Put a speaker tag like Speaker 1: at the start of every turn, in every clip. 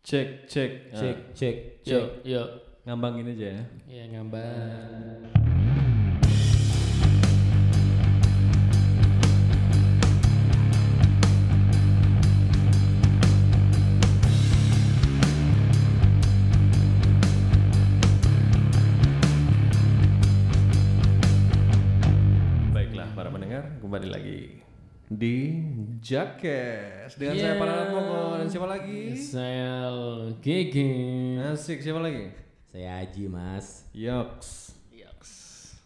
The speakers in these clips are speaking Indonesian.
Speaker 1: Cek, cek,
Speaker 2: Ah.
Speaker 3: Cek,
Speaker 1: Nah,
Speaker 3: cek, cek.
Speaker 2: Yuk, yuk.
Speaker 1: ngambangin aja ya.
Speaker 2: Ya ngambang.
Speaker 1: Baiklah para mendengar, kembali lagi di Jakes dengan saya
Speaker 2: Yeah.
Speaker 1: para Moko dan siapa lagi?
Speaker 2: Saya GG.
Speaker 1: Asik, siapa lagi?
Speaker 3: Saya Aji Mas.
Speaker 1: Yoks.
Speaker 2: Yaks.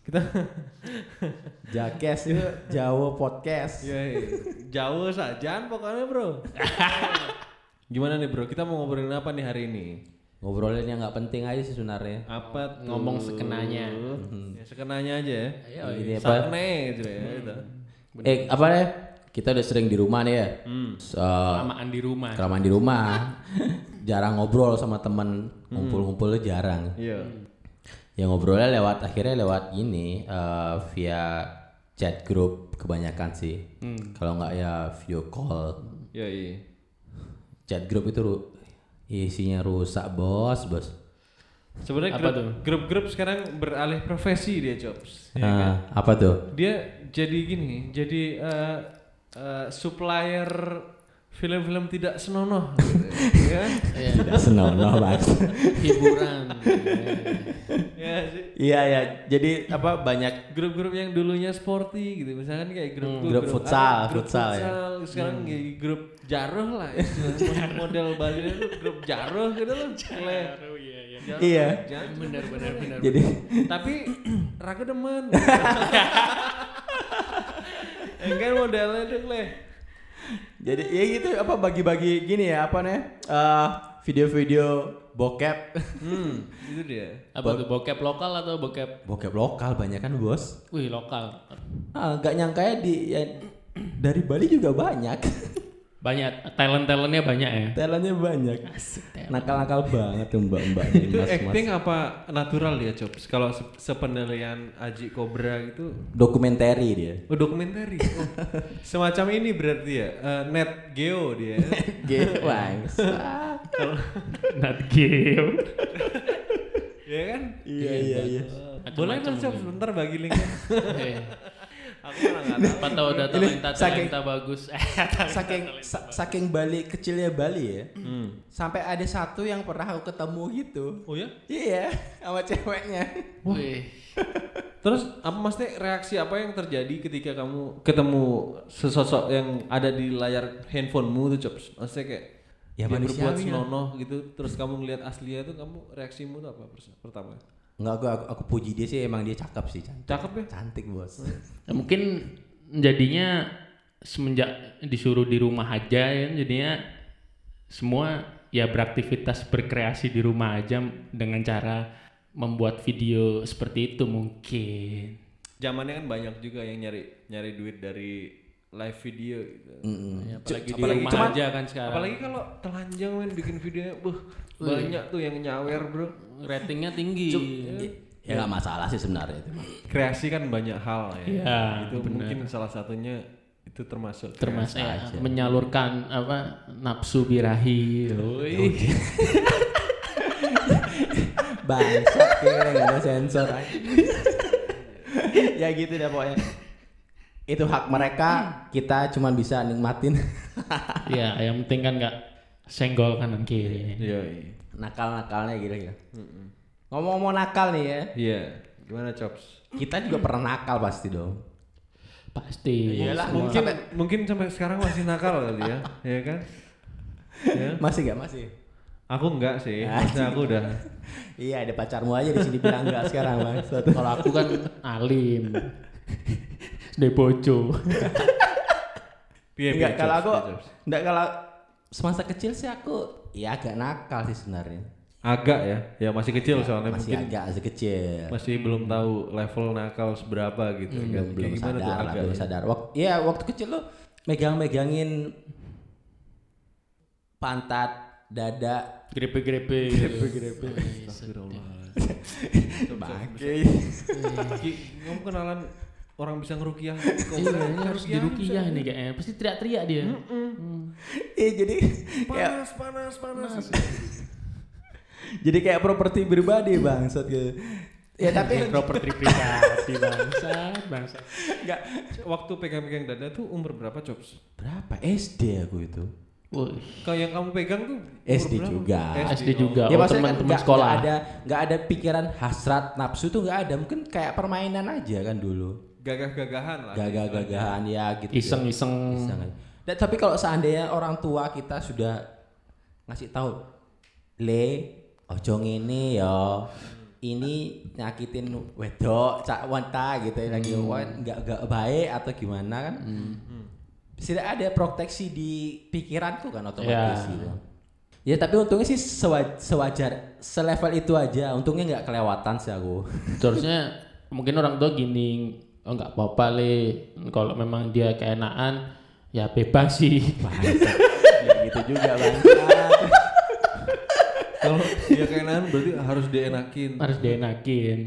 Speaker 1: Kita
Speaker 3: Jakes ya, Jawa Podcast.
Speaker 1: Yoi, jauh sajaan pokoknya, Bro. Gimana nih, Bro? Kita mau ngobrolin apa nih hari ini?
Speaker 3: Ngobrolin yang nggak penting aja sih sebenarnya.
Speaker 1: Apa tuh?
Speaker 2: Ngomong sekenanya.
Speaker 1: Ya, sekenanya aja ya.
Speaker 3: Ini apa?
Speaker 1: Sakne aja ya. gitu.
Speaker 3: Eh apa ya? Kita udah sering di rumah nih ya. So,
Speaker 2: Lamaan di rumah.
Speaker 3: kelamaan di rumah. jarang ngobrol sama temen. Ngumpul-ngumpul jarang.
Speaker 1: Iya.
Speaker 3: Ya ngobrolnya lewat akhirnya lewat ini eh, via chat group kebanyakan sih. Kalau nggak ya video call.
Speaker 1: Yoi.
Speaker 3: Chat group itu ru- isinya rusak bos bos.
Speaker 1: Sebenarnya
Speaker 2: Apa
Speaker 1: grup-
Speaker 2: tuh?
Speaker 1: grup-grup sekarang beralih profesi dia, Jobs.
Speaker 3: Eh, apa tuh?
Speaker 1: dia jadi gini jadi eh, eh, supplier film-film tidak senonoh gitu, ya
Speaker 2: Iya.
Speaker 3: Tidak senonoh mas.
Speaker 2: Hiburan.
Speaker 1: ya sih.
Speaker 3: Iya ya. Jadi apa banyak
Speaker 1: grup-grup yang dulunya sporty gitu misalkan kayak grup
Speaker 3: Hmm, Grup futsal, futsal ya.
Speaker 1: sekarang kayak grup jaruh lah istilahnya. model Bali itu grup jaruh gitu loh Le.
Speaker 2: iya, iya.
Speaker 1: Jaruh,
Speaker 3: Iya.
Speaker 1: jaruh.
Speaker 2: Benar, benar, benar.
Speaker 3: jadi
Speaker 1: tapi raga demen gitu. Ya kan modelnya tuh leh
Speaker 3: jadi ya gitu apa bagi-bagi gini ya apa nih eh, video-video bokep
Speaker 1: hmm itu dia
Speaker 2: Apa tuh bokep lokal atau bokep?
Speaker 3: bokep lokal banyak kan bos.
Speaker 2: Wih lokal.
Speaker 3: Ah, nggak nyangka ya di ya, dari Bali juga banyak.
Speaker 2: Banyak talent talentnya banyak ya.
Speaker 3: Talentnya banyak.
Speaker 2: talent.
Speaker 3: Nakal-nakal banget tuh mbak-mbak nih,
Speaker 1: Itu acting apa natural ya, Cops? Kalau se- sependalian Aji Cobra gitu
Speaker 3: Dokumenteri dia.
Speaker 1: Oh, dokumentari. Oh. Semacam ini berarti ya, eh, net geo dia.
Speaker 3: Gewangs.
Speaker 2: Not game.
Speaker 1: ya kan?
Speaker 3: iya iya iya.
Speaker 1: Boleh kan, Cops? Bentar bagi linknya. Aku malah nggak
Speaker 2: Siapa
Speaker 1: tahu.
Speaker 2: tahu Eh, ada
Speaker 3: Ini
Speaker 2: talenta
Speaker 3: saking-
Speaker 2: talenta bagus.
Speaker 3: Saking sa- saking Bali kecilnya Bali ya. Sampai ada satu yang pernah aku ketemu gitu.
Speaker 1: Oh ya?
Speaker 3: Iya, sama ceweknya.
Speaker 2: Wih.
Speaker 1: Terus apa maksudnya reaksi apa yang terjadi ketika kamu ketemu sesosok yang ada di layar handphonemu tuh, Cops? Maksudnya kayak
Speaker 3: Ya,
Speaker 1: dia berbuat
Speaker 3: manusiawi ya.
Speaker 1: senonoh gitu, terus kamu ngelihat aslinya tuh kamu reaksimu tuh apa pers- pertama?
Speaker 3: Enggak gua aku, aku puji dia sih emang dia cakep sih, cantik.
Speaker 1: Cakep ya?
Speaker 3: Cantik, Bos.
Speaker 2: Ya, mungkin jadinya semenjak disuruh di rumah aja ya jadinya semua ya beraktivitas berkreasi di rumah aja dengan cara membuat video seperti itu mungkin
Speaker 1: zamannya kan banyak juga yang nyari nyari duit dari live video gitu.
Speaker 3: Hmm.
Speaker 2: Ya, apalagi di
Speaker 1: apalagi
Speaker 2: rumah
Speaker 1: cuman-
Speaker 2: aja kan sekarang
Speaker 1: Apalagi kalau telanjang men bikin videonya, buh, banyak tuh yang nyawer, Bro.
Speaker 2: ratingnya tinggi
Speaker 3: Ya enggak masalah sih sebenarnya itu. mah.
Speaker 1: Kreasi kan banyak hal ya.
Speaker 2: Iya,
Speaker 1: itu mungkin salah satunya itu termasuk.
Speaker 2: termasuk ya, menyalurkan apa nafsu birahi Wih.
Speaker 3: Bangsat kayaknya nggak ada sensor Ya gitu deh pokoknya Itu hak mereka Kita cuma bisa nikmatin
Speaker 2: ya yang penting kan nggak senggol kanan kiri
Speaker 1: Iya.
Speaker 3: Nakal-nakalnya gitu ya
Speaker 1: Hmm.
Speaker 3: Ngomong-ngomong nakal nih ya
Speaker 1: Iya. Gimana, Chops?
Speaker 3: Kita juga pernah nakal pasti dong
Speaker 2: pasti
Speaker 3: Iyalah,
Speaker 2: Semua.
Speaker 1: Mungkin mungkin sampai sekarang masih nakal kali ya, ya kan? Ya.
Speaker 3: Masih gak? Masih?
Speaker 1: Aku enggak sih, maksudnya aku udah
Speaker 3: Iya ada pacarmu aja di sini bilang enggak sekarang bangsat
Speaker 2: Kalau aku kan alim. Debojo.
Speaker 1: Piye, piye,
Speaker 3: Enggak
Speaker 1: Iya,
Speaker 3: kalau
Speaker 1: Chops,
Speaker 3: aku
Speaker 1: piye, Chops?
Speaker 3: Enggak kalau Semasa kecil sih aku Ya agak nakal sih sebenarnya
Speaker 1: agak ya, ya masih kecil soalnya
Speaker 3: Iya, Masih
Speaker 1: mungkin
Speaker 3: agak sekecil
Speaker 1: masih belum tahu level nakal seberapa gitu kan.
Speaker 3: belum Hmm, belum
Speaker 1: Kayak gimana
Speaker 3: sadar
Speaker 1: tuh
Speaker 3: lah,
Speaker 1: agak
Speaker 3: belum
Speaker 1: ya?
Speaker 3: sadar waktu ya waktu kecil lo megang-megangin pantat dada
Speaker 2: Grepe-grepe. Grepe-grepe.
Speaker 1: Astagfirullah.
Speaker 3: bangke
Speaker 1: Ki, kamu kenalan orang bisa ngerukiah
Speaker 2: Iya, ini harus dirukiah nih kayaknya. Pasti teriak-teriak dia.
Speaker 3: Iya jadi kayak
Speaker 1: panas panas panas
Speaker 3: jadi kayak properti pribadi bangsat gitu. Ya tapi
Speaker 2: properti pribadi bangsa, bangsa.
Speaker 3: enggak
Speaker 1: waktu pegang-pegang dada tuh umur berapa cops
Speaker 3: berapa SD aku itu.
Speaker 2: Wih,
Speaker 1: kalau yang kamu pegang tuh umur
Speaker 3: SD
Speaker 1: berapa?
Speaker 3: juga.
Speaker 2: SD juga.
Speaker 3: ya
Speaker 2: oh,
Speaker 3: maksudnya
Speaker 2: teman-teman
Speaker 3: nggak-
Speaker 2: sekolah.
Speaker 3: nggak ada nggak ada pikiran hasrat nafsu tuh nggak ada. Mungkin kayak permainan aja kan dulu.
Speaker 1: Oh, gagah-gagahan lah
Speaker 3: Gagah-gagahan ya gitu. ya.
Speaker 2: Iseng-iseng.
Speaker 3: Iseng aja. Dan, Nah, tapi kalau seandainya orang tua kita sudah ngasih tahu, le, ojo ngene ya, ini nyakitin wedok, cak wanita gitu ya lagi wan, nggak nggak baik atau gimana kan? Tidak ada proteksi di pikiranku kan otomatis
Speaker 2: Ya.
Speaker 3: gitu. Ya tapi untungnya sih sewa- sewajar, selevel itu aja. Untungnya nggak kelewatan sih aku.
Speaker 2: Seharusnya mungkin orang tua gini, oh nggak apa-apa le, kalau memang dia keenaan ya bebas sih.
Speaker 3: Nggak gitu juga bang.
Speaker 1: kalau dia keenakan berarti harus dienakin
Speaker 2: Harus dienakin.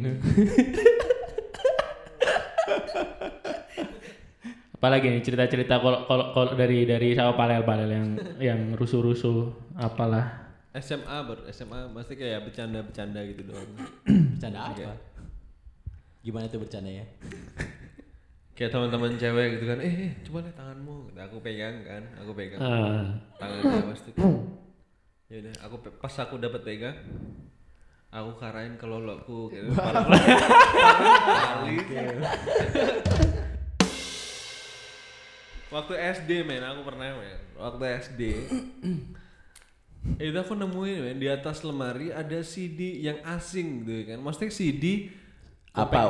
Speaker 2: Apalagi nih cerita-cerita kalau kalau kalau dari dari sama palel-palel yang yang rusuh-rusuh apalah.
Speaker 1: SMA ber SMA pasti kayak bercanda-bercanda gitu doang
Speaker 3: Bercanda apa? Gimana tuh bercanda ya?
Speaker 1: kayak teman-teman cewek gitu kan eh eh, coba lihat tanganmu Nah, aku pegang kan aku pegang
Speaker 2: Ah.
Speaker 1: tangan dia pasti kan. ya udah aku pe- pas aku dapat pegang aku karain ke lolokku gitu Parah kali. waktu SD men aku pernah men waktu SD itu aku nemuin men di atas lemari ada CD yang asing gitu kan maksudnya CD
Speaker 3: Apa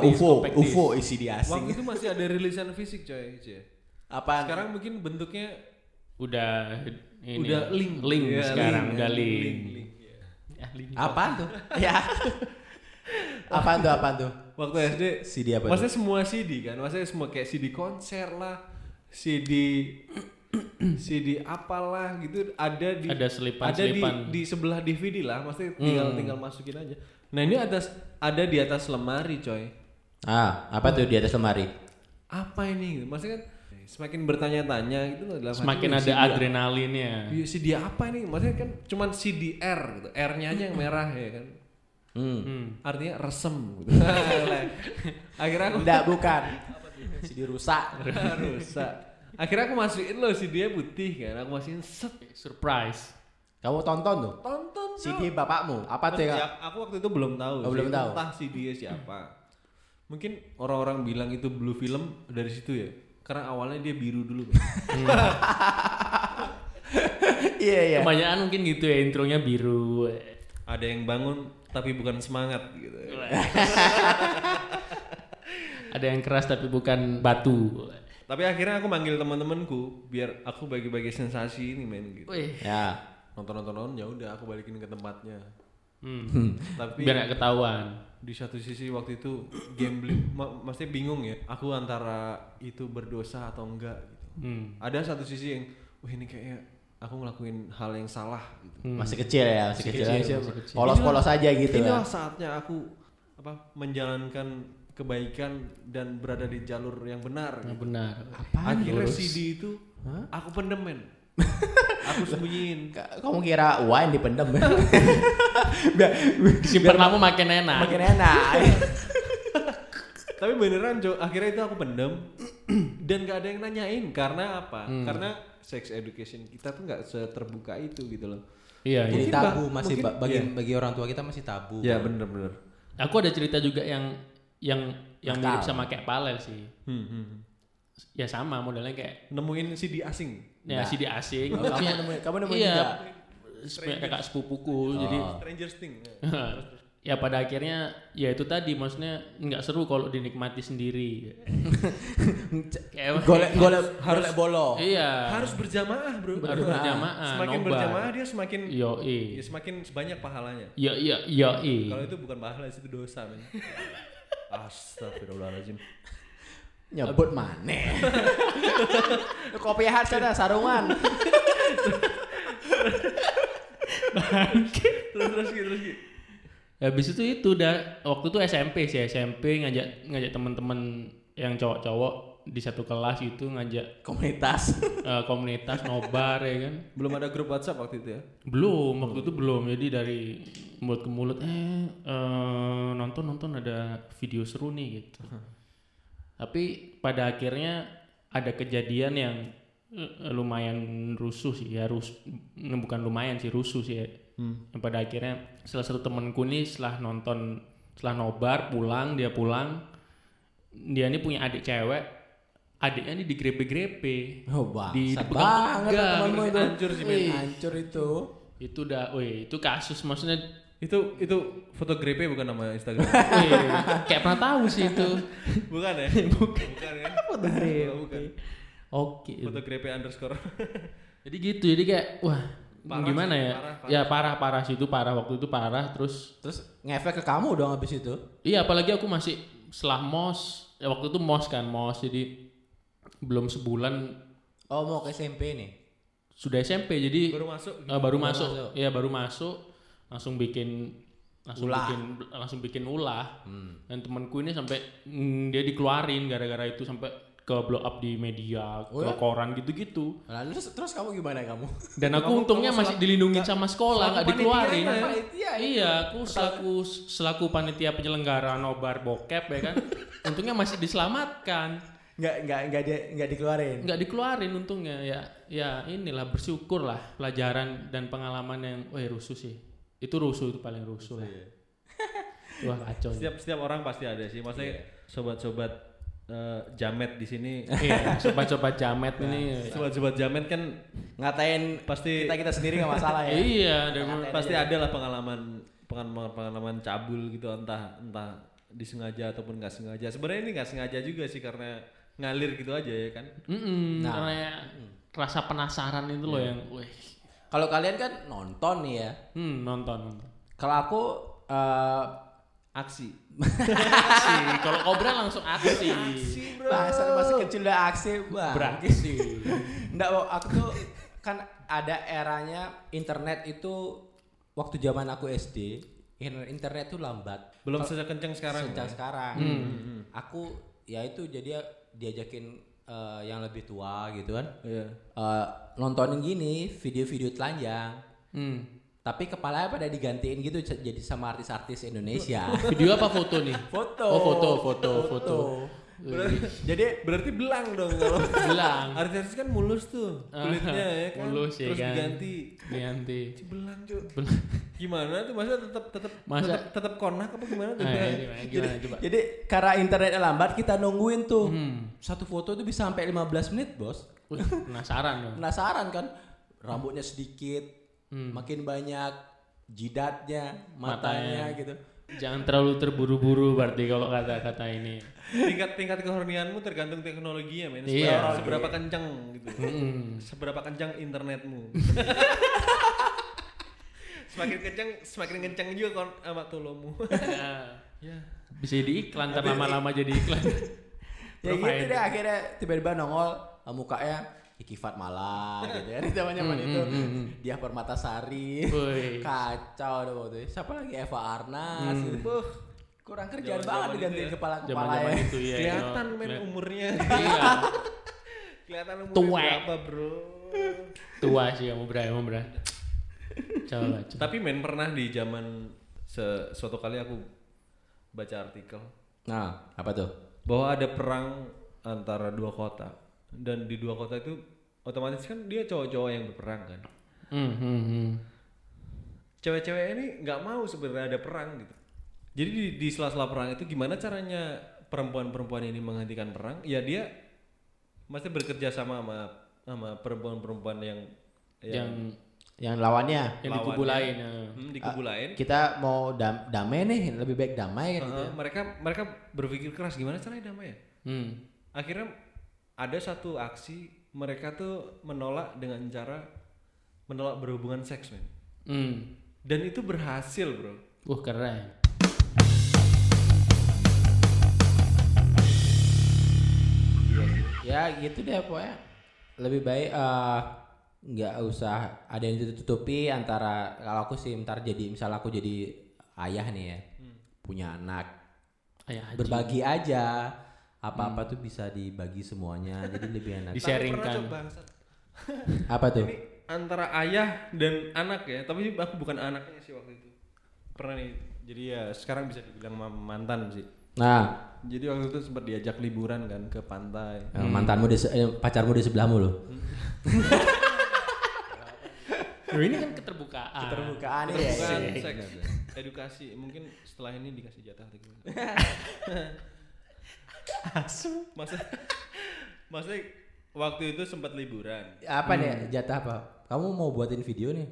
Speaker 1: compact disc,
Speaker 3: UFO?
Speaker 1: compact disc.
Speaker 3: UFO isi di asing. Kan.
Speaker 1: waktu itu masih ada rilisan fisik coy cie.
Speaker 3: Apaan?
Speaker 1: sekarang mungkin bentuknya
Speaker 2: udah ini
Speaker 1: udah link
Speaker 2: link
Speaker 1: Iya,
Speaker 2: sekarang
Speaker 1: link,
Speaker 2: udah
Speaker 1: link,
Speaker 2: link,
Speaker 1: link, link, iya.
Speaker 2: Ya, link.
Speaker 3: Apaan tuh? ya. apaan tuh? Apaan tuh?
Speaker 1: waktu SD
Speaker 3: CD apa tuh?
Speaker 1: maksudnya semua CD kan maksudnya semua kayak CD konser lah CD CD apalah gitu ada di
Speaker 2: Ada Hmm. selipan-
Speaker 1: ada di,
Speaker 2: selipan.
Speaker 1: di sebelah DVD lah maksudnya tinggal tinggal masukin aja nah ini atas ada di atas lemari coy
Speaker 3: Ah, apa tuh di atas lemari?
Speaker 1: apa ini maksudnya kan semakin bertanya-tanya gitu loh dalam hati,
Speaker 2: Semakin
Speaker 1: "Wih,
Speaker 2: ada
Speaker 1: CD
Speaker 2: adrenalinnya.
Speaker 1: Iya CD apa ini? Maksudnya kan cuman CDR gitu. R-nya aja yang merah ya kan.
Speaker 3: Hmm.
Speaker 2: Hmm.
Speaker 1: Artinya resem gitu. Akhirnya aku
Speaker 3: Enggak, bukan. CD rusak.
Speaker 1: rusak. Akhirnya aku masukin loh CD-nya putih kan. Aku masukin set
Speaker 2: Surprise.
Speaker 3: Kamu tonton tuh?
Speaker 1: tonton tuh.
Speaker 3: CD bapakmu. Apa tuh
Speaker 1: Terus ya,
Speaker 3: ya?
Speaker 1: aku waktu itu belum tahu.
Speaker 3: Oh,
Speaker 1: sih,
Speaker 3: belum tahu.
Speaker 1: Entah CD-nya siapa. Mungkin orang-orang bilang itu blue film dari situ ya. Karena awalnya dia biru dulu. Bang.
Speaker 3: Iya, iya.
Speaker 2: Kebanyakan mungkin gitu ya intronya biru.
Speaker 1: Ada yang bangun tapi bukan semangat gitu.
Speaker 2: Ada yang keras tapi bukan batu.
Speaker 1: Tapi akhirnya aku manggil teman-temanku biar aku bagi-bagi sensasi ini main gitu.
Speaker 2: Wih.
Speaker 3: Ya.
Speaker 1: Nonton-nonton nonton, ya udah aku balikin ke tempatnya.
Speaker 2: Hmm.
Speaker 1: Tapi
Speaker 2: Biar gak ketahuan.
Speaker 1: di satu sisi waktu itu gambling ma maksudnya bingung ya. Aku antara itu berdosa atau enggak gitu.
Speaker 2: Hmm.
Speaker 1: Ada satu sisi yang wah ini kayaknya aku ngelakuin hal yang salah gitu.
Speaker 3: Masih kecil ya, masih kecil.
Speaker 2: kecil,
Speaker 3: aja.
Speaker 2: masih kecil.
Speaker 3: Polos-polos aja gitu.
Speaker 1: Inilah
Speaker 3: ya.
Speaker 1: saatnya aku apa menjalankan kebaikan dan berada di jalur yang benar.
Speaker 2: Nah,
Speaker 1: gitu.
Speaker 2: benar.
Speaker 1: Akhirnya CD itu aku pendemen. aku sembunyiin.
Speaker 3: Kamu kira wine dipendem? biar,
Speaker 2: Disimpan lama makin enak.
Speaker 3: makin enak.
Speaker 1: Tapi beneran Jo, akhirnya itu aku pendem dan gak ada yang nanyain karena apa? Karena sex education kita tuh nggak seterbuka itu gitu loh.
Speaker 2: Iya, iya.
Speaker 3: Jadi
Speaker 1: Mungkin
Speaker 3: tabu
Speaker 1: ba-
Speaker 3: masih
Speaker 1: mungkin-
Speaker 3: ba- bagi
Speaker 1: iya.
Speaker 3: bagi orang tua kita masih tabu.
Speaker 1: Ya bener-bener.
Speaker 2: Aku ada cerita juga yang yang yang mirip
Speaker 3: Nakal.
Speaker 2: sama kayak Palel sih.
Speaker 1: Hmm, hmm.
Speaker 2: Ya sama modelnya kayak
Speaker 1: Nemuin CD asing.
Speaker 2: ya CD asing.
Speaker 3: Oh, kamu nemuin- kamu nemuin Oh.
Speaker 2: iya,
Speaker 3: juga?
Speaker 2: Punya kakak sepupuku jadi
Speaker 1: Stranger Things.
Speaker 2: ya pada akhirnya ya itu tadi maksudnya nggak seru kalau dinikmati sendiri Kayak-
Speaker 3: golek golek golek bolo.
Speaker 2: iya
Speaker 1: Harus berjamaah bro.
Speaker 2: Harus berjamaah, nobar.
Speaker 1: Semakin Ah. berjamaah dia semakin
Speaker 2: yo
Speaker 1: ya, semakin sebanyak pahalanya.
Speaker 2: yo yo yo
Speaker 1: Kalau itu bukan pahala itu dosa men. Astagfirullahaladzim.
Speaker 3: Nyebut mana? Kopi hat sana sarungan.
Speaker 1: terus terus gitu terus gitu.
Speaker 2: habis itu itu udah waktu itu SMP sih SMP ngajak ngajak teman-teman yang cowok-cowok di satu kelas itu ngajak
Speaker 3: komunitas
Speaker 2: eh, komunitas nobar ya kan
Speaker 1: Belum ada grup WhatsApp waktu itu ya?
Speaker 2: belum waktu itu belum jadi dari mulut ke mulut eh eh, nonton nonton ada video seru nih gitu tapi pada akhirnya ada kejadian yang eh, lumayan rusuh sih ya rus eh, bukan lumayan sih rusuh sih ya. Yang pada akhirnya salah satu temanku nih setelah nonton setelah nobar pulang dia pulang dia ini punya adik cewek adiknya ini digrepe-grepe
Speaker 3: oh bang
Speaker 2: Di- di-
Speaker 3: banget
Speaker 2: enggak,
Speaker 3: temanmu itu
Speaker 1: hancur sih, men.
Speaker 3: Ih, hancur itu
Speaker 2: itu udah weh itu kasus maksudnya
Speaker 1: Itu itu foto grepe bukan nama Instagram.
Speaker 2: Wih, Iya, kayak pernah tahu sih itu.
Speaker 1: bukan ya? bukan. ya?
Speaker 2: Foto grepe.
Speaker 1: Bukan.
Speaker 2: Oke.
Speaker 1: Foto grepe underscore.
Speaker 2: Jadi gitu, jadi kayak wah
Speaker 1: Parah
Speaker 2: gimana
Speaker 1: sih,
Speaker 2: ya?
Speaker 1: parah, parah.
Speaker 2: Ya parah parah sih itu parah waktu itu parah terus
Speaker 3: terus ngefek ke kamu dong habis itu
Speaker 2: iya apalagi aku masih setelah mos ya waktu itu mos kan mos jadi belum sebulan
Speaker 3: oh mau ke SMP nih
Speaker 2: sudah SMP jadi
Speaker 1: Baru masuk.
Speaker 2: Eh, baru masuk.
Speaker 3: masuk.
Speaker 2: Iya, baru masuk langsung bikin langsung
Speaker 3: Ulah.
Speaker 2: bikin langsung bikin ulah. Dan temanku ini sampai mm, dia dikeluarin gara-gara itu sampai ke blow up di media,
Speaker 3: Oh
Speaker 2: ke
Speaker 3: ya?
Speaker 2: koran gitu-gitu.
Speaker 3: lalu terus, terus kamu gimana kamu
Speaker 2: Dan aku
Speaker 1: Kamu-
Speaker 2: untungnya
Speaker 1: kamu
Speaker 2: masih
Speaker 1: selaku-
Speaker 2: dilindungi sama sekolah,
Speaker 1: selaku
Speaker 2: nggak
Speaker 1: panitia
Speaker 2: dikeluarin.
Speaker 1: ya, Pak?
Speaker 3: Panitia, iya.
Speaker 2: iya, aku selaku selaku panitia penyelenggara nobar bokep ya kan. untungnya masih diselamatkan,
Speaker 3: nggak nggak nggak dia nggak dikeluarin
Speaker 2: nggak dikeluarin untungnya ya. Ya inilah bersyukur lah pelajaran dan pengalaman yang, wah rusuh sih. Itu rusuh itu paling rusuh iya. lah. Wah kacau. nih.
Speaker 1: Setiap setiap orang pasti ada sih. Maksudnya sobat-sobat eh, jamet di sini.
Speaker 2: Iya, sobat-sobat jamet ini.
Speaker 1: Sobat-sobat jamet kan
Speaker 3: ngatain
Speaker 1: pasti
Speaker 3: kita kita sendiri nggak masalah ya
Speaker 2: Iya, dan mem-
Speaker 1: pasti ada lah pengalaman pengalaman pengalaman cabul gitu entah entah disengaja ataupun nggak sengaja. Sebenarnya ini nggak sengaja juga sih karena ngalir gitu aja ya kan.
Speaker 2: Mm-mm, karena ya, rasa penasaran itu loh yang, wih,
Speaker 3: kalau kalian kan nonton nih ya
Speaker 2: hmm, nonton nonton.
Speaker 3: kalau aku eh,
Speaker 1: Aksi.
Speaker 2: Aksi, kalau kobra langsung aksi.
Speaker 3: masa masa kecil udah aksi bang
Speaker 2: Beraksi.
Speaker 3: Nggak, Wo. aku tuh kan ada eranya internet itu waktu zaman aku SD in- internet tuh lambat
Speaker 1: Belum sekenceng sekarang.
Speaker 3: sejak
Speaker 1: ya?
Speaker 3: sekarang aku ya itu jadi diajakin eh, yang lebih tua gitu kan
Speaker 1: Iya.
Speaker 3: Eh, nontonin gini video-video telanjang
Speaker 2: Hmm.
Speaker 3: tapi kepalanya pada digantiin gitu c- jadi sama artis-artis Indonesia
Speaker 2: Video apa foto nih?
Speaker 3: Foto.
Speaker 2: Oh foto, foto, foto.
Speaker 3: Foto.
Speaker 2: Wih,
Speaker 1: Jadi Oh. berarti belang dong kalau
Speaker 2: Bilang.
Speaker 1: artis-artis kan mulus tuh kulitnya ya kan.
Speaker 2: Mulus ya
Speaker 1: Terus
Speaker 2: kan.
Speaker 1: diganti
Speaker 2: Nanti.
Speaker 1: Si belang cuy.
Speaker 2: Belang.
Speaker 1: Gimana tuh maksudnya tetap tetap
Speaker 2: Masa-
Speaker 1: tetap, tetap konak apa gimana tuh?
Speaker 2: Nah, gimana, gimana coba?
Speaker 3: jadi karena internet lambat kita nungguin tuh
Speaker 1: Hmm.
Speaker 3: satu foto itu bisa sampai 15 menit bos
Speaker 2: Wih, penasaran dong.
Speaker 3: penasaran kan rambutnya sedikit
Speaker 2: Hmm.
Speaker 3: makin banyak jidatnya matanya, gitu
Speaker 2: Jangan terlalu terburu-buru berarti kalau kata-kata ini.
Speaker 1: tingkat tingkat kehornianmu tergantung teknologinya men seberapa,
Speaker 2: Iya.
Speaker 1: seberapa kencang gitu seberapa kencang internetmu semakin kencang semakin kencang juga kon sama tolomu
Speaker 2: ya. Bisa jadi iklan, ntar lama-lama jadi iklan.
Speaker 3: ya gitu
Speaker 2: Provider.
Speaker 3: deh akhirnya tiba-tiba nongol eh, mukanya Ikifat Malah gitu ya di
Speaker 2: Hmm,
Speaker 3: zaman zaman itu dia Permatasari
Speaker 2: Woi. Hmm.
Speaker 3: kacau deh waktu itu siapa lagi Eva Arnas gitu. Buh, kurang kerjaan
Speaker 1: Zaman-zaman
Speaker 3: banget
Speaker 1: itu
Speaker 3: digantiin
Speaker 1: ya.
Speaker 3: kepala kepala
Speaker 2: Zaman-zaman
Speaker 3: ya
Speaker 2: itu ya.
Speaker 1: kelihatan
Speaker 2: yo.
Speaker 1: men
Speaker 2: Keli-
Speaker 1: umurnya
Speaker 2: Iya.
Speaker 1: kelihatan umurnya
Speaker 2: Tuwek.
Speaker 1: berapa bro
Speaker 2: Tua sih kamu bray, kamu bray. Coba, coba.
Speaker 1: tapi men pernah di zaman se- suatu kali aku baca artikel
Speaker 3: nah apa tuh
Speaker 1: bahwa ada perang antara dua kota dan di dua kota itu otomatis kan dia cowok-cowok yang berperang kan
Speaker 2: Hmm, hmm, hmm.
Speaker 1: cewek-cewek ini nggak mau sebenarnya ada perang gitu. Jadi di, di sela-sela perang itu gimana caranya perempuan-perempuan ini menghentikan perang? Ya dia masih bekerja sama sama sama perempuan-perempuan yang yang,
Speaker 2: Yang
Speaker 3: yang lawannya
Speaker 2: yang
Speaker 1: Lawannya.
Speaker 2: dikubulain. ya.
Speaker 1: hmm, di kubu lain.
Speaker 3: kita mau dam- damai nih lebih baik damai kan gitu
Speaker 1: Heeh, mereka mereka berpikir keras gimana caranya damai ya?
Speaker 2: Hmm.
Speaker 1: Akhirnya ada satu aksi mereka tuh menolak dengan cara menolak berhubungan seks, men.
Speaker 2: Hmm.
Speaker 1: Dan itu berhasil, Bro.
Speaker 2: Wah, keren.
Speaker 3: ya gitu deh pokoknya lebih baik eh, nggak usah ada yang ditutupi antara kalau aku sih ntar jadi misal aku jadi ayah nih ya punya anak
Speaker 2: Ayah Haji.
Speaker 3: berbagi aja apa-apa tuh bisa dibagi semuanya jadi lebih enak
Speaker 1: Tapi pernah
Speaker 2: Disaringkan.
Speaker 1: coba, bangsat.
Speaker 3: apa tuh
Speaker 1: Ini antara ayah dan anak ya, tapi aku bukan anaknya sih waktu itu. Pernah nih. Jadi ya sekarang bisa dibilang ma- mantan sih.
Speaker 3: nah
Speaker 1: Jadi waktu itu sempat diajak liburan kan ke pantai.
Speaker 3: eh, mantanmu di se- eh, pacarmu di sebelahmu loh
Speaker 2: Loh, ini kan keterbukaan.
Speaker 3: terbukaan
Speaker 1: Bukan
Speaker 3: iya.
Speaker 1: seks, edukasi. Mungkin setelah ini dikasih jatah tiga.
Speaker 2: Asu.
Speaker 1: Maksud, maksudnya waktu itu sempat liburan.
Speaker 3: apa nih Hmm. jatah apa kamu mau buatin video nih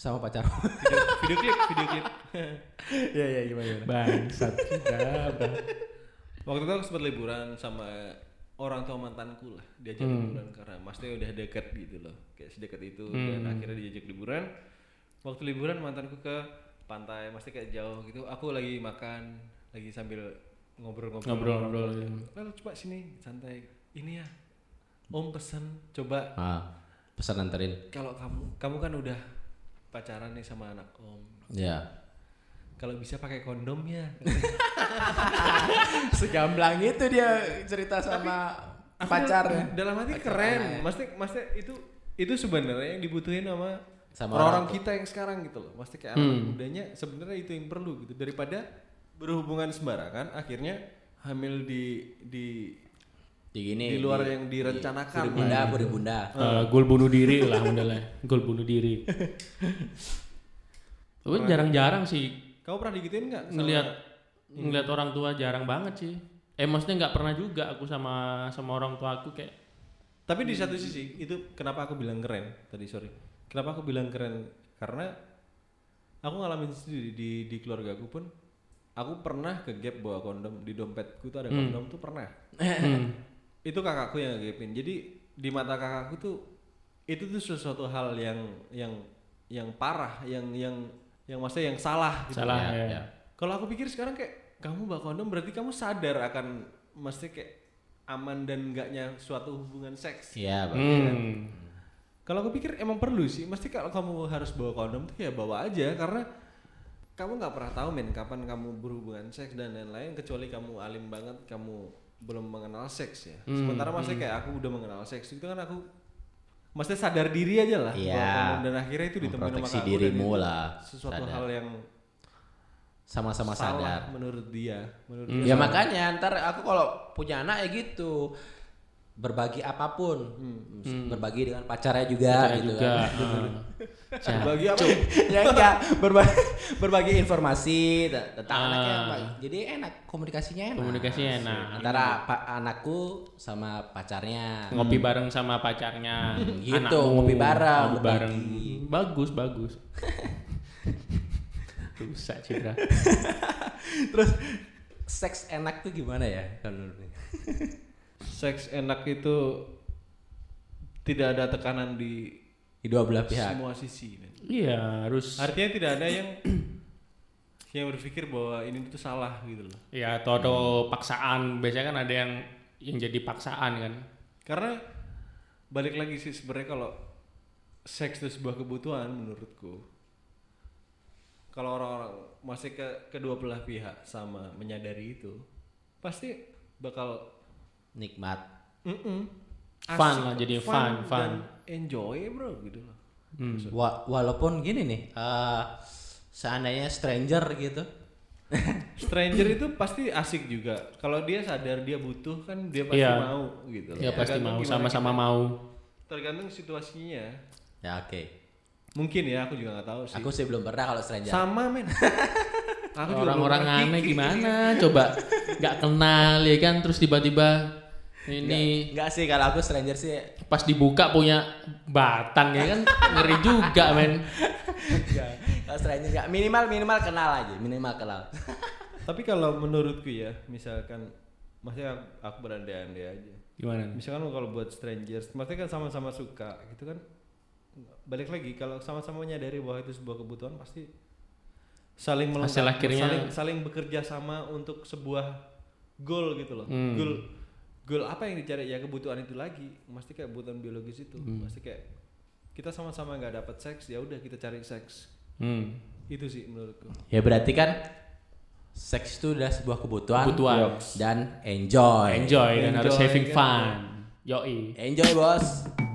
Speaker 3: sama pacarmu
Speaker 1: Video, video klip, video klip.
Speaker 3: ya ya gimana
Speaker 2: Bangsat kita. bang.
Speaker 1: waktu itu aku sempat liburan sama orang tua mantanku lah diajak liburan karena maksudnya udah deket gitu loh kayak sedekat itu dan akhirnya diajak liburan waktu liburan mantanku ke pantai maksudnya kayak jauh gitu aku lagi makan lagi sambil ngobrol-ngobrol
Speaker 2: Ngobrol-ngobrol,
Speaker 1: Kayak,
Speaker 2: iya.
Speaker 1: lalu coba sini santai ini ya om pesen coba
Speaker 3: ah, pesan anterin
Speaker 1: kalau kamu kamu kan udah pacaran nih sama anak om
Speaker 3: ya
Speaker 1: kalau bisa pakai kondom ya
Speaker 3: segamblang itu dia cerita sama ya. pacarnya
Speaker 1: dalam hati keren maksudnya maksudnya itu itu sebenarnya yang dibutuhin sama
Speaker 3: Sama
Speaker 1: orang,
Speaker 3: orang
Speaker 1: kita yang sekarang gitu loh maksudnya kayak anak mudanya sebenarnya itu yang perlu gitu daripada berhubungan sembarangan akhirnya hamil di di
Speaker 3: gini
Speaker 1: Di luar yang direncanakan lah
Speaker 3: bunda bunda
Speaker 2: Eh, gol bunuh diri lah modelnya. Gol bunuh diri. Gue jarang-jarang sih
Speaker 1: kamu pernah digituin nggak sama-
Speaker 2: ngelihat ngelihat orang tua jarang banget sih. Eh maksudnya nggak pernah juga aku sama sama orang tua aku kayak
Speaker 1: tapi di satu sisi itu kenapa aku bilang keren tadi sorry kenapa aku bilang keren karena aku ngalamin sendiri di di keluarga aku pun aku pernah ke gap bawa kondom di dompetku tuh ada kondom tuh pernah
Speaker 2: hmm,
Speaker 1: itu kakakku yang ngegepin jadi di mata kakakku tuh itu tuh sesuatu hal yang yang yang parah yang yang yang maksudnya yang salah gitu.
Speaker 2: salah
Speaker 3: ya,
Speaker 2: ya.
Speaker 3: ya.
Speaker 1: kalau aku pikir sekarang kayak kamu bawa kondom berarti kamu sadar akan mesti kayak aman dan enggaknya suatu hubungan seks
Speaker 3: iya Bang.
Speaker 2: Hmm.
Speaker 1: kalau aku pikir emang perlu sih mesti kalau kamu harus bawa kondom tuh ya bawa aja karena kamu nggak pernah tahu men kapan kamu berhubungan seks dan lain-lain kecuali kamu alim banget kamu belum mengenal seks ya
Speaker 3: Hmm,
Speaker 1: sementara maksudnya kayak aku udah mengenal seks itu kan aku maksudnya sadar diri aja lah bawa
Speaker 3: Iya.
Speaker 1: kondom. dan akhirnya itu ditemuin sama
Speaker 3: Memproteksi
Speaker 1: kakakku dan
Speaker 3: dirimu
Speaker 1: itu
Speaker 3: lah,
Speaker 1: sesuatu
Speaker 3: sadar.
Speaker 1: hal yang
Speaker 3: sama-sama
Speaker 1: salah Hmm.
Speaker 3: sadar
Speaker 1: menurut dia menurut dia
Speaker 3: Ya makanya ntar aku kalau punya anak ya gitu berbagi apapun Hmm. berbagi dengan pacarnya juga
Speaker 2: Saya
Speaker 3: gitu
Speaker 2: juga.
Speaker 3: kan.
Speaker 2: eh.
Speaker 3: Iya.
Speaker 2: Cah-
Speaker 1: bagi apa
Speaker 3: ya enggak berbagi, berbagi informasi te- tentang
Speaker 2: Ah.
Speaker 3: anaknya Pak. jadi enak komunikasinya enak
Speaker 2: Komunikasinya enak.
Speaker 3: antara pa- anakku sama pacarnya
Speaker 2: ngopi bareng sama pacarnya
Speaker 3: Hmm. Gitu,
Speaker 2: anakmu.
Speaker 3: ngopi bareng,
Speaker 2: ngopi bareng
Speaker 3: berbagi.
Speaker 2: bagus bagus rusak Citra
Speaker 3: terus seks enak tuh gimana ya kalau menurut lu?
Speaker 1: seks enak itu tidak ada tekanan di
Speaker 3: di dua belah pihak
Speaker 1: semua sisi men.
Speaker 2: iya harus
Speaker 1: Artinya tidak ada yang yang berpikir bahwa ini tuh salah gitu loh.
Speaker 2: ya atau ada paksaan biasanya kan ada yang yang jadi paksaan kan
Speaker 1: Karena balik lagi sih sebenarnya kalau seks itu sebuah kebutuhan menurutku. Kalau orang-orang masih ke kedua belah pihak sama menyadari itu, pasti bakal
Speaker 3: nikmat
Speaker 1: mm
Speaker 2: Fun lah, jadi fun, fun.
Speaker 1: dan enjoy bro gitu loh.
Speaker 3: Hmm. Wa- walaupun gini nih eh, seandainya stranger gitu
Speaker 1: Stranger itu pasti asik juga. Kalau dia sadar dia butuh kan dia pasti
Speaker 2: Iya.
Speaker 1: mau gitu loh.
Speaker 2: ya pasti
Speaker 1: Tergantung
Speaker 2: mau
Speaker 1: gimana
Speaker 2: sama-sama mau
Speaker 1: kita- tergantung situasinya.
Speaker 3: ya oke
Speaker 1: Mungkin ya, aku juga nggak tahu sih.
Speaker 3: Aku sih belum pernah kalau stranger.
Speaker 1: sama men. Aku juga
Speaker 2: orang-orang
Speaker 1: belum ngerti.
Speaker 2: aneh gimana coba nggak kenal ya kan terus tiba-tiba ini
Speaker 3: Enggak sih kalau aku stranger sih
Speaker 2: pas dibuka punya batang ya kan ngeri juga men
Speaker 3: enggak. kalau stranger enggak minimal minimal kenal aja, minimal kenal.
Speaker 1: Tapi kalau menurutku ya, misalkan maksudnya aku, aku berandai-andai aja.
Speaker 2: gimana
Speaker 1: Misalkan kalau buat strangers, maksudnya kan sama-sama suka gitu kan. Balik lagi kalau sama-sama menyadari bahwa itu sebuah kebutuhan pasti saling melengkapi,
Speaker 2: Hasil akhirnya-
Speaker 1: saling saling bekerja sama untuk sebuah goal gitu loh.
Speaker 2: Hmm.
Speaker 1: Goal goal apa yang dicari ya kebutuhan itu lagi. Mesti kayak kebutuhan biologis itu.
Speaker 2: Hmm.
Speaker 1: Pasti kayak kita sama-sama nggak dapat seks, ya udah kita cari seks.
Speaker 2: hmm.
Speaker 1: Itu sih menurutku.
Speaker 3: Ya berarti kan seks itu adalah sebuah kebutuhan,
Speaker 2: Kebutuhan.
Speaker 3: dan enjoy.
Speaker 2: Enjoy, dan harus
Speaker 1: Enjoy,
Speaker 2: having
Speaker 1: kan.
Speaker 2: fun. Yoi.
Speaker 3: Enjoy, Bos.